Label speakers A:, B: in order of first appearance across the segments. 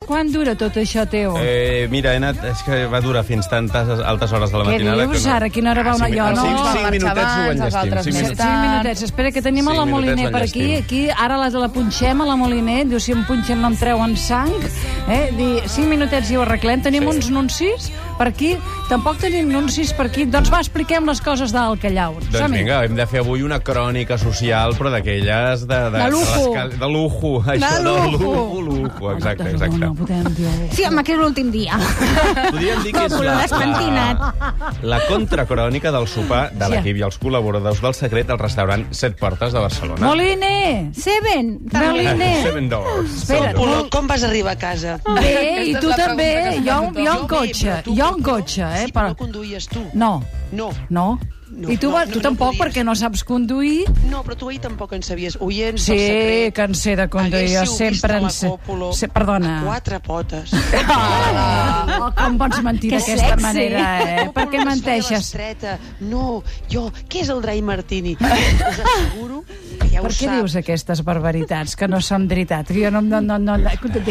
A: Quant dura tot això, Teo?
B: Eh, mira, he anat, és que va durar fins tantes altes hores de la
A: Què
B: matinada.
A: dius, ara? Quina hora va una
B: llora?
A: llora?
B: Cinc,
A: No,
B: cinc
C: marxa
B: minutets ho
C: abans, els
B: enllestim.
C: altres
B: Cinc
C: més
B: minutets.
A: Cinc minutets. Espera, que tenim a la
B: Cinc minutets
A: Moliner per aquí.
B: l'enllestim.
A: aquí. Ara la, la punxem a la Moliner. Diu, si em punxen no em treuen sang. Eh? Dir, cinc minutets i ho arreglem. Tenim uns nuncis per aquí. Tampoc tenim nuncis per aquí. Doncs va, expliquem les coses del Callau.
B: Doncs vinga, hem de fer avui una crònica social, però d'aquelles de... De,
A: De lujo.
B: les cal- De lujo. Això de
A: lujo.
B: lujo, lujo. Exacte,
A: doncs No,
B: exacte.
A: no podem dir...
D: Sí, home, que és l'últim dia.
B: Podríem dir que és la, la, la contracrònica del sopar de
A: Sí.
B: l'equip i els col·laboradors del secret al restaurant Set Portes de Barcelona.
A: Moliner!
D: Seven, també.
A: Moliner!
B: Seven Doors.
A: Espera't,
E: Polo, com vas arribar a casa?
A: Bé, i tu
C: Aquesta és la pregunta
A: també.
C: que
A: Jo,
C: s'ha fet
A: jo
C: tothom.
A: en cotxe,
E: però
A: jo
E: tu
A: en
E: conduïes-
A: cotxe, eh?
E: Sí, però
A: Però...
E: no conduïes tu.
A: No,
E: No.
A: no.
E: No,
A: I tu,
E: no,
A: va-
E: no,
A: tu
E: no
A: tampoc,
E: podies.
A: perquè no saps conduir.
E: No, però tu ahir tampoc en sabies. Oients,
A: Sí,
E: el secret.
A: que en sé de conduir, jo
E: Haguéssiu
A: sempre
E: vist a
A: en
E: la
A: sé.
E: Còpolo
A: Sí, perdona. Eh,
E: A quatre potes.
A: Oh, com pots mentir
D: Que
A: d'aquesta
D: sexy.
A: manera, eh? Per què
E: Còpolo es feia
A: menteixes?
E: l'estreta. No, jo, què és el dry martini? Us asseguro que ja
A: Per
E: ho
A: què
E: sap.
A: dius aquestes barbaritats que no són veritat? Jo no... no, no, no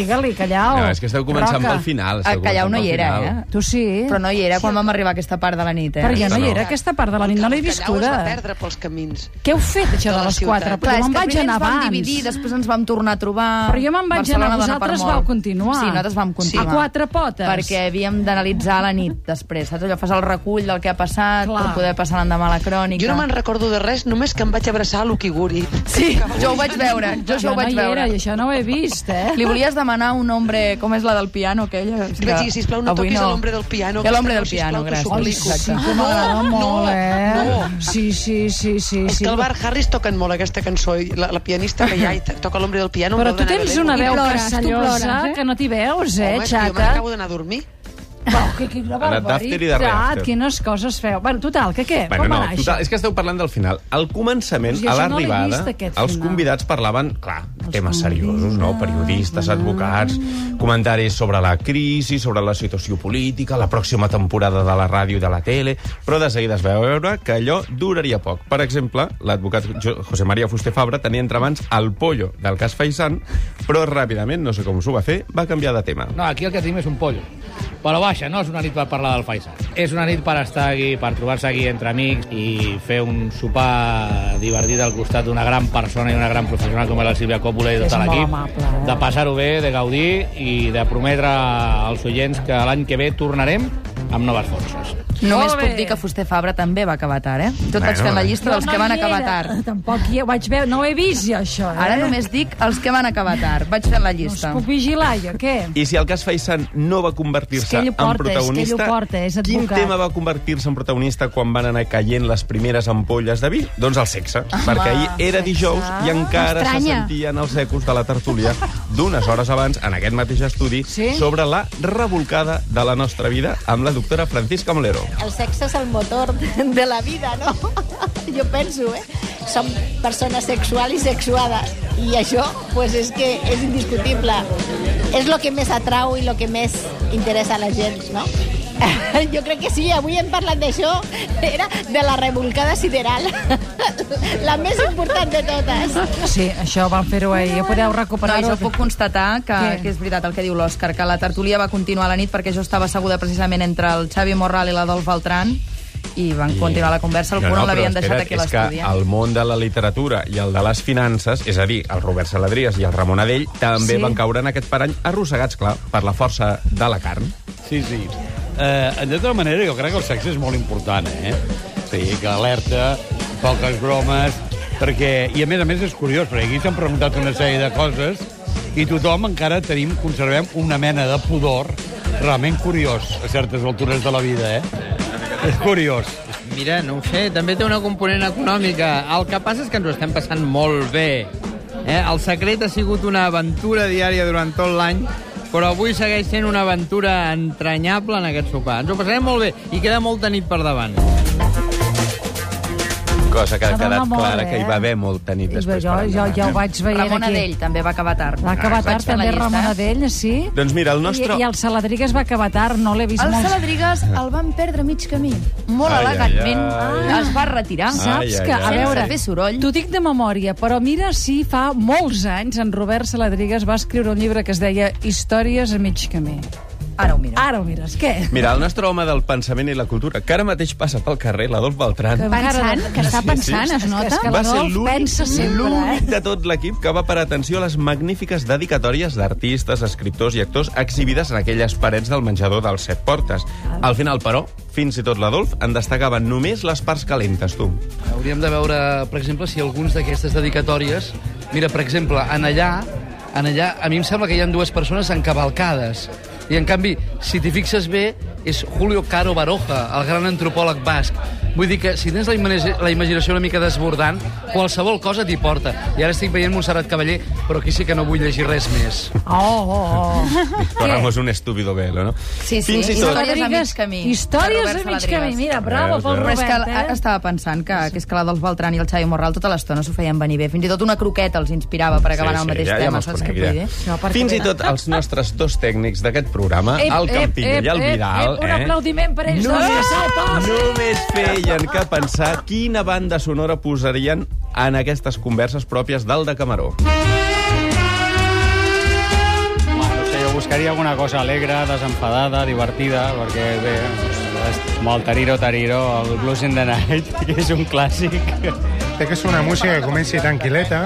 A: Digue-li, callau.
B: No, és que esteu començant
A: Roca. Ah,
B: pel final.
C: A
B: esteu
C: Callau no
B: començant
C: hi
B: pel
C: era,
B: final.
C: eh?
A: Tu sí?
C: Però no hi era quan vam arribar a aquesta part de la nit, eh?
A: Però ja no hi
B: No.
A: era aquesta part de la nit, no l'he
E: El Callao es va
A: viscuda.
E: perdre pels camins.
A: Què heu fet, això de les
E: ciutat.
A: 4?
C: Clar,
A: Però
C: és
A: jo me'n
C: que
A: vaig
C: primer
A: anar
C: ens vam
A: abans.
C: dividir, després ens vam tornar a trobar...
A: Però jo me'n vaig
C: Barcelona
A: anar,
C: dona per
A: vosaltres
C: mort.
A: vau continuar.
C: Sí, nosaltres vam continuar.
A: A quatre potes.
C: Perquè havíem d'analitzar la nit després, saps? Allò fas el recull del que ha passat
A: Clar.
C: per poder passar l'endemà a la crònica.
E: Jo no me'n recordo de res, només que em vaig abraçar a l'Ukiguri.
C: Sí, jo ho vaig veure, jo això
A: Jo
C: ho
A: no
C: vaig
A: hi
C: veure.
A: era, i això no ho he vist, eh?
C: Li volies demanar un nombre... Com és la del piano, aquella?
E: Li vaig dir, sisplau, no
C: Avui
E: toquis l'ombre del piano,
C: Ja l'ombre
E: que
C: del
E: si plau,
C: piano,
E: t'ho
A: Ai,
C: gràcies.
E: suplico.
A: sí,
C: Exacte.
A: que m'agrada
E: No,
A: molt,
E: no,
A: eh?
E: no.
A: Sí, sí, sí, sí.
E: És
A: sí.
E: que el Bar Harris toquen molt aquesta cançó, i la, la pianista que hi ha i toca l'ombre del piano... em
A: Però
E: veu
A: tu
E: d'anar
A: tens
E: de
A: una
E: demo.
A: veu
D: plores, tu
A: castellosa
D: plores, eh?
A: que no t'hi veus, eh,
E: Home, és que jo me
A: xata?
E: n'acabo d'anar a dormir.
A: Però
B: Oh,
A: que quina
B: anat d'after i de
A: barbaritat,
B: reafter.
A: quines coses feu. Bueno, total, que què?
B: Bueno,
A: Com va
B: no,
A: anar
B: total,
A: això?
B: és que esteu parlant del final. Al començament,
A: Jo
B: a
A: això no l'he
B: l'arribada,
A: vist, aquest
B: els
A: final.
B: convidats parlaven, clar, temes seriosos, no? Periodistes, advocats, comentaris sobre la crisi, sobre la situació política, la pròxima temporada de la ràdio i de la tele, però de seguida es va veure que allò duraria poc. Per exemple, l'advocat Jo- José María Fuster Fabra tenia entre mans el pollo del cas Faisán, però ràpidament, no sé com s'ho va fer, va canviar de tema.
F: No, aquí el que tenim és un pollo. Però vaja, no és una nit per parlar del Faisal. És una nit per estar aquí, per trobar-se aquí entre amics i fer un sopar divertit al costat d'una gran persona i una gran professional com és la Sílvia Coppola i
A: És
F: tot
A: molt
F: l'equip.
A: amable, eh?
F: De passar-ho bé, de gaudir i de prometre als oients que l'any que ve tornarem amb noves forces.
C: Només
A: Molt bé.
C: puc dir que Fuster Fabra també va acabar tard, eh? Jo et vaig
B: Bueno,
C: fer la
B: eh.
C: llista dels
A: Jo
C: que
A: no
C: van
A: hi
C: acabar
A: era.
C: tard.
A: Tampoc hi ho vaig veure, no ho he vist, jo, això, eh?
C: Ara només dic els que van acabar tard. Vaig fer la
A: No us
C: llista.
A: puc vigilar, jo, què?
B: I si el cas Faisán no va
A: És que
B: convertir-se
A: ell ho
B: en
A: porta, és que
B: protagonista...
A: ell ho porta, és
B: quin
A: advocat.
B: tema va convertir-se en protagonista quan van anar caient les primeres ampolles de vi? Doncs el sexe. perquè ahir era dijous i encara se
D: M'estranya.
B: sentien els ecos de la tertúlia d'unes hores abans, en aquest mateix estudi,
A: Sí?
B: sobre la revolcada de la nostra vida amb la doctora Francisca Molero.
G: El sexe és el motor de la vida, no? Jo penso, eh? Som persones sexuals i sexuades. I això, pues és que és indiscutible. És el que més atrau i el que més interessa a la gent, no? Jo crec que sí, avui hem parlat d'això, era de la revolcada sideral, la més important de totes.
A: Sí, això van fer-ho ahir. Ja podeu
C: Però
A: recuperar-ho.
C: jo puc constatar que,
A: Què?
C: que és veritat el que diu l'Òscar, que la tertúlia va continuar la nit perquè jo estava asseguda precisament entre el Xavi Morral i l'Adolf Beltran i van continuar la conversa, el no, no, l'havien
B: però espera't,
C: deixat aquí a
B: és que
C: l'estudi. eh?
B: el món de la literatura i el de les finances, és a dir, el Robert Saladries i el Ramon Adell, també
A: Sí.
B: van caure en aquest parany arrossegats, clar, per la força de la carn.
H: Sí, sí. Eh, de tota manera, jo crec que el sexe és molt important, eh? Sí, que alerta, poques bromes, perquè... I a més a més és curiós, perquè aquí s'han preguntat una sèrie de coses i tothom encara tenim, conservem una mena de pudor realment curiós a certes altures de la vida, eh? És curiós.
I: Mira, no ho sé, també té una component econòmica. El que passa és que ens ho estem passant molt bé. Eh? El secret ha sigut una aventura diària durant tot l'any, però avui segueix sent una aventura entranyable en aquest sopar. Ens ho passarem molt bé i queda molta nit per davant.
B: cosa que ha
A: S'adona
B: quedat
A: molt,
B: clara,
A: eh?
B: que hi va haver molta nit
A: I
B: després. eh?
A: jo,
B: per
A: jo
B: endavant.
A: ja ho vaig veient
C: Ramona
A: aquí.
C: Dell també va acabar tard.
A: Va
B: Ah,
A: acabar tard,
C: Vaig fer la
A: també
C: llista.
A: Ramona Dell, sí.
B: Doncs mira, el
A: I,
B: nostre...
A: I el Saladrigues va acabar tard, no l'he vist
J: El
A: molt.
J: Saladrigues el van perdre a mig camí.
C: Molt
B: Ai, ai,
C: elegantment
B: ai.
C: es va retirar.
A: Saps
B: Ai, ai,
A: que,
B: ai.
A: a veure,
C: Sense fer soroll.
A: t'ho dic de memòria, però mira si fa molts anys en Robert Saladrigues va escriure un llibre que es deia Històries a mig camí.
C: Ara ho miro.
A: Ara ho mires, què?
B: Mira, el nostre home del pensament i la cultura, que ara mateix passa pel carrer, l'Adolf Beltran,
A: Que-
D: Pensant, que està pensant, es
A: És
D: nota?
A: que
B: va ser
A: l'Adolf pensa
B: l'únic
A: sempre, eh?
B: l'únic de tot l'equip que va parar atenció a les magnífiques dedicatòries d'artistes, escriptors i actors exhibides en aquelles parets del menjador dels Set Portes.
A: Ah.
B: Al final, però, fins i tot l'Adolf en destacava només les parts calentes, tu.
K: Hauríem de veure, per exemple, si alguns d'aquestes dedicatòries... Mira, per exemple, en allà, en allà, a mi em sembla que hi ha dues persones encavalcades. I, en canvi, si t'hi fixes bé, és Julio Caro Baroja, el gran antropòleg basc. Vull dir que, si tens la, imagina la imaginació una mica desbordant, qualsevol cosa t'hi porta. I ara estic veient Montserrat Cavaller, però aquí sí que no vull llegir res més.
A: Oh, oh, oh.
B: Corramos un estúpido velo, no?
C: Sí, sí,
B: Fins i tot...
C: Històries a mig camí.
A: Històries
C: De
A: a
C: Robert
A: mig camí.
C: Saladrigues.
A: Mira, bravo
B: Veus,
A: pel
B: veus?
C: Però és que
A: Robert,
C: ara
A: eh?
C: estava pensant que, que és que l'Adolf Beltran i el Xavi Morral tota l'estona s'ho feien venir bé. Fins i tot una croqueta els inspirava per acabar en el mateix
B: ja, ja
C: tema.
B: me'ls
C: saps
B: conec,
C: què vull
B: ja.
C: dir?
B: Fins i tot els nostres dos tècnics d'aquest programa,
A: Ep,
B: el
A: ep,
B: Campillo
A: ep,
B: i el
A: ep,
B: Vidal... eh?
A: ep, un aplaudiment per ells dos, que
B: Només,
A: se'l posin!
B: només feien que pensar quina banda sonora posarien en aquestes converses pròpies del de Camaró.
H: Bueno, no sé, jo buscaria alguna cosa alegre, desenfadada, divertida, perquè bé, doncs, amb el Tariro Tariro, el Blues in the Night, que és un clàssic.
K: Té que ser una música que comenci tranquil·leta,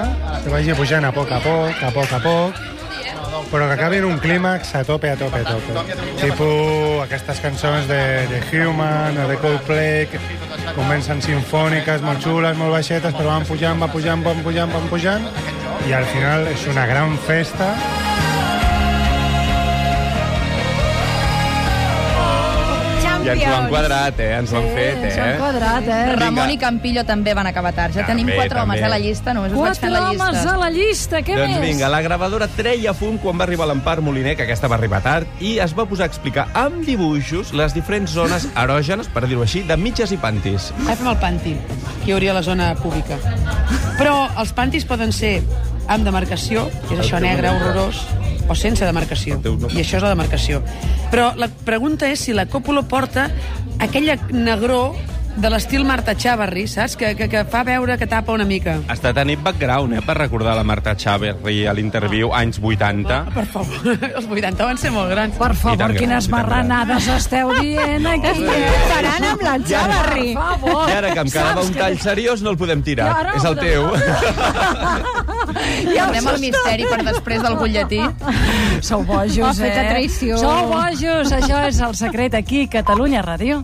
K: que vagi pujant a poc a poc, a poc a poc, però que acabi en un clímax a tope, a tope, a tope. Tipo aquestes cançons de, de Human o de Coldplay, que comencen sinfòniques, molt xules, molt baixetes, però van pujant, van pujant, van pujant, van pujant, i al final és una gran festa.
B: I ens l'han quadrat, eh? Ens l'han fet,
A: S'han
B: eh?
A: quadrat, eh?
C: Ramon i Campillo també van acabar tard. Ja
B: També,
C: tenim quatre homes eh,
B: també.
C: a la llista, només us vaig
A: Ah, Quatre
C: fent la llista.
A: homes a la llista, què
B: Doncs
A: més?
B: vinga, la gravadora treia fum quan va arribar l'Empar Moliner, que aquesta va arribar tard, i es va posar a explicar amb dibuixos les diferents zones erògenes, per dir-ho així, de mitges i pantis.
J: Agafem el panti, que hi hauria a la zona pública. Però els pantis poden ser amb demarcació, que és això negre, horrorós, o sense demarcació.
B: teu no.
J: I això és la demarcació. Però la pregunta és si la Còpolo porta aquella negró de l'estil Marta Chavarri, saps? Que, que, que fa veure que tapa una mica.
B: Està tenint background, eh?, per recordar la Marta Xaverri a l'interviu anys 80.
J: Per favor, els 80 van ser molt grans.
A: Per
B: I tant
A: favor,
B: que
A: quines
B: sí, i tant que sí.
A: marranades esteu dient aquí.
D: Comparant amb la Xavarri.
A: Per favor.
B: I ara que em quedava un tall seriós no el podem tirar.
A: I ara
B: És el
A: ho
B: teu.
A: Ja us
C: Guardem el misteri per després del butlletí.
A: Sou bojos,
D: M'ha fet
A: eh?
D: traïció.
A: Sou bojos. Això és el secret aquí, Catalunya Ràdio.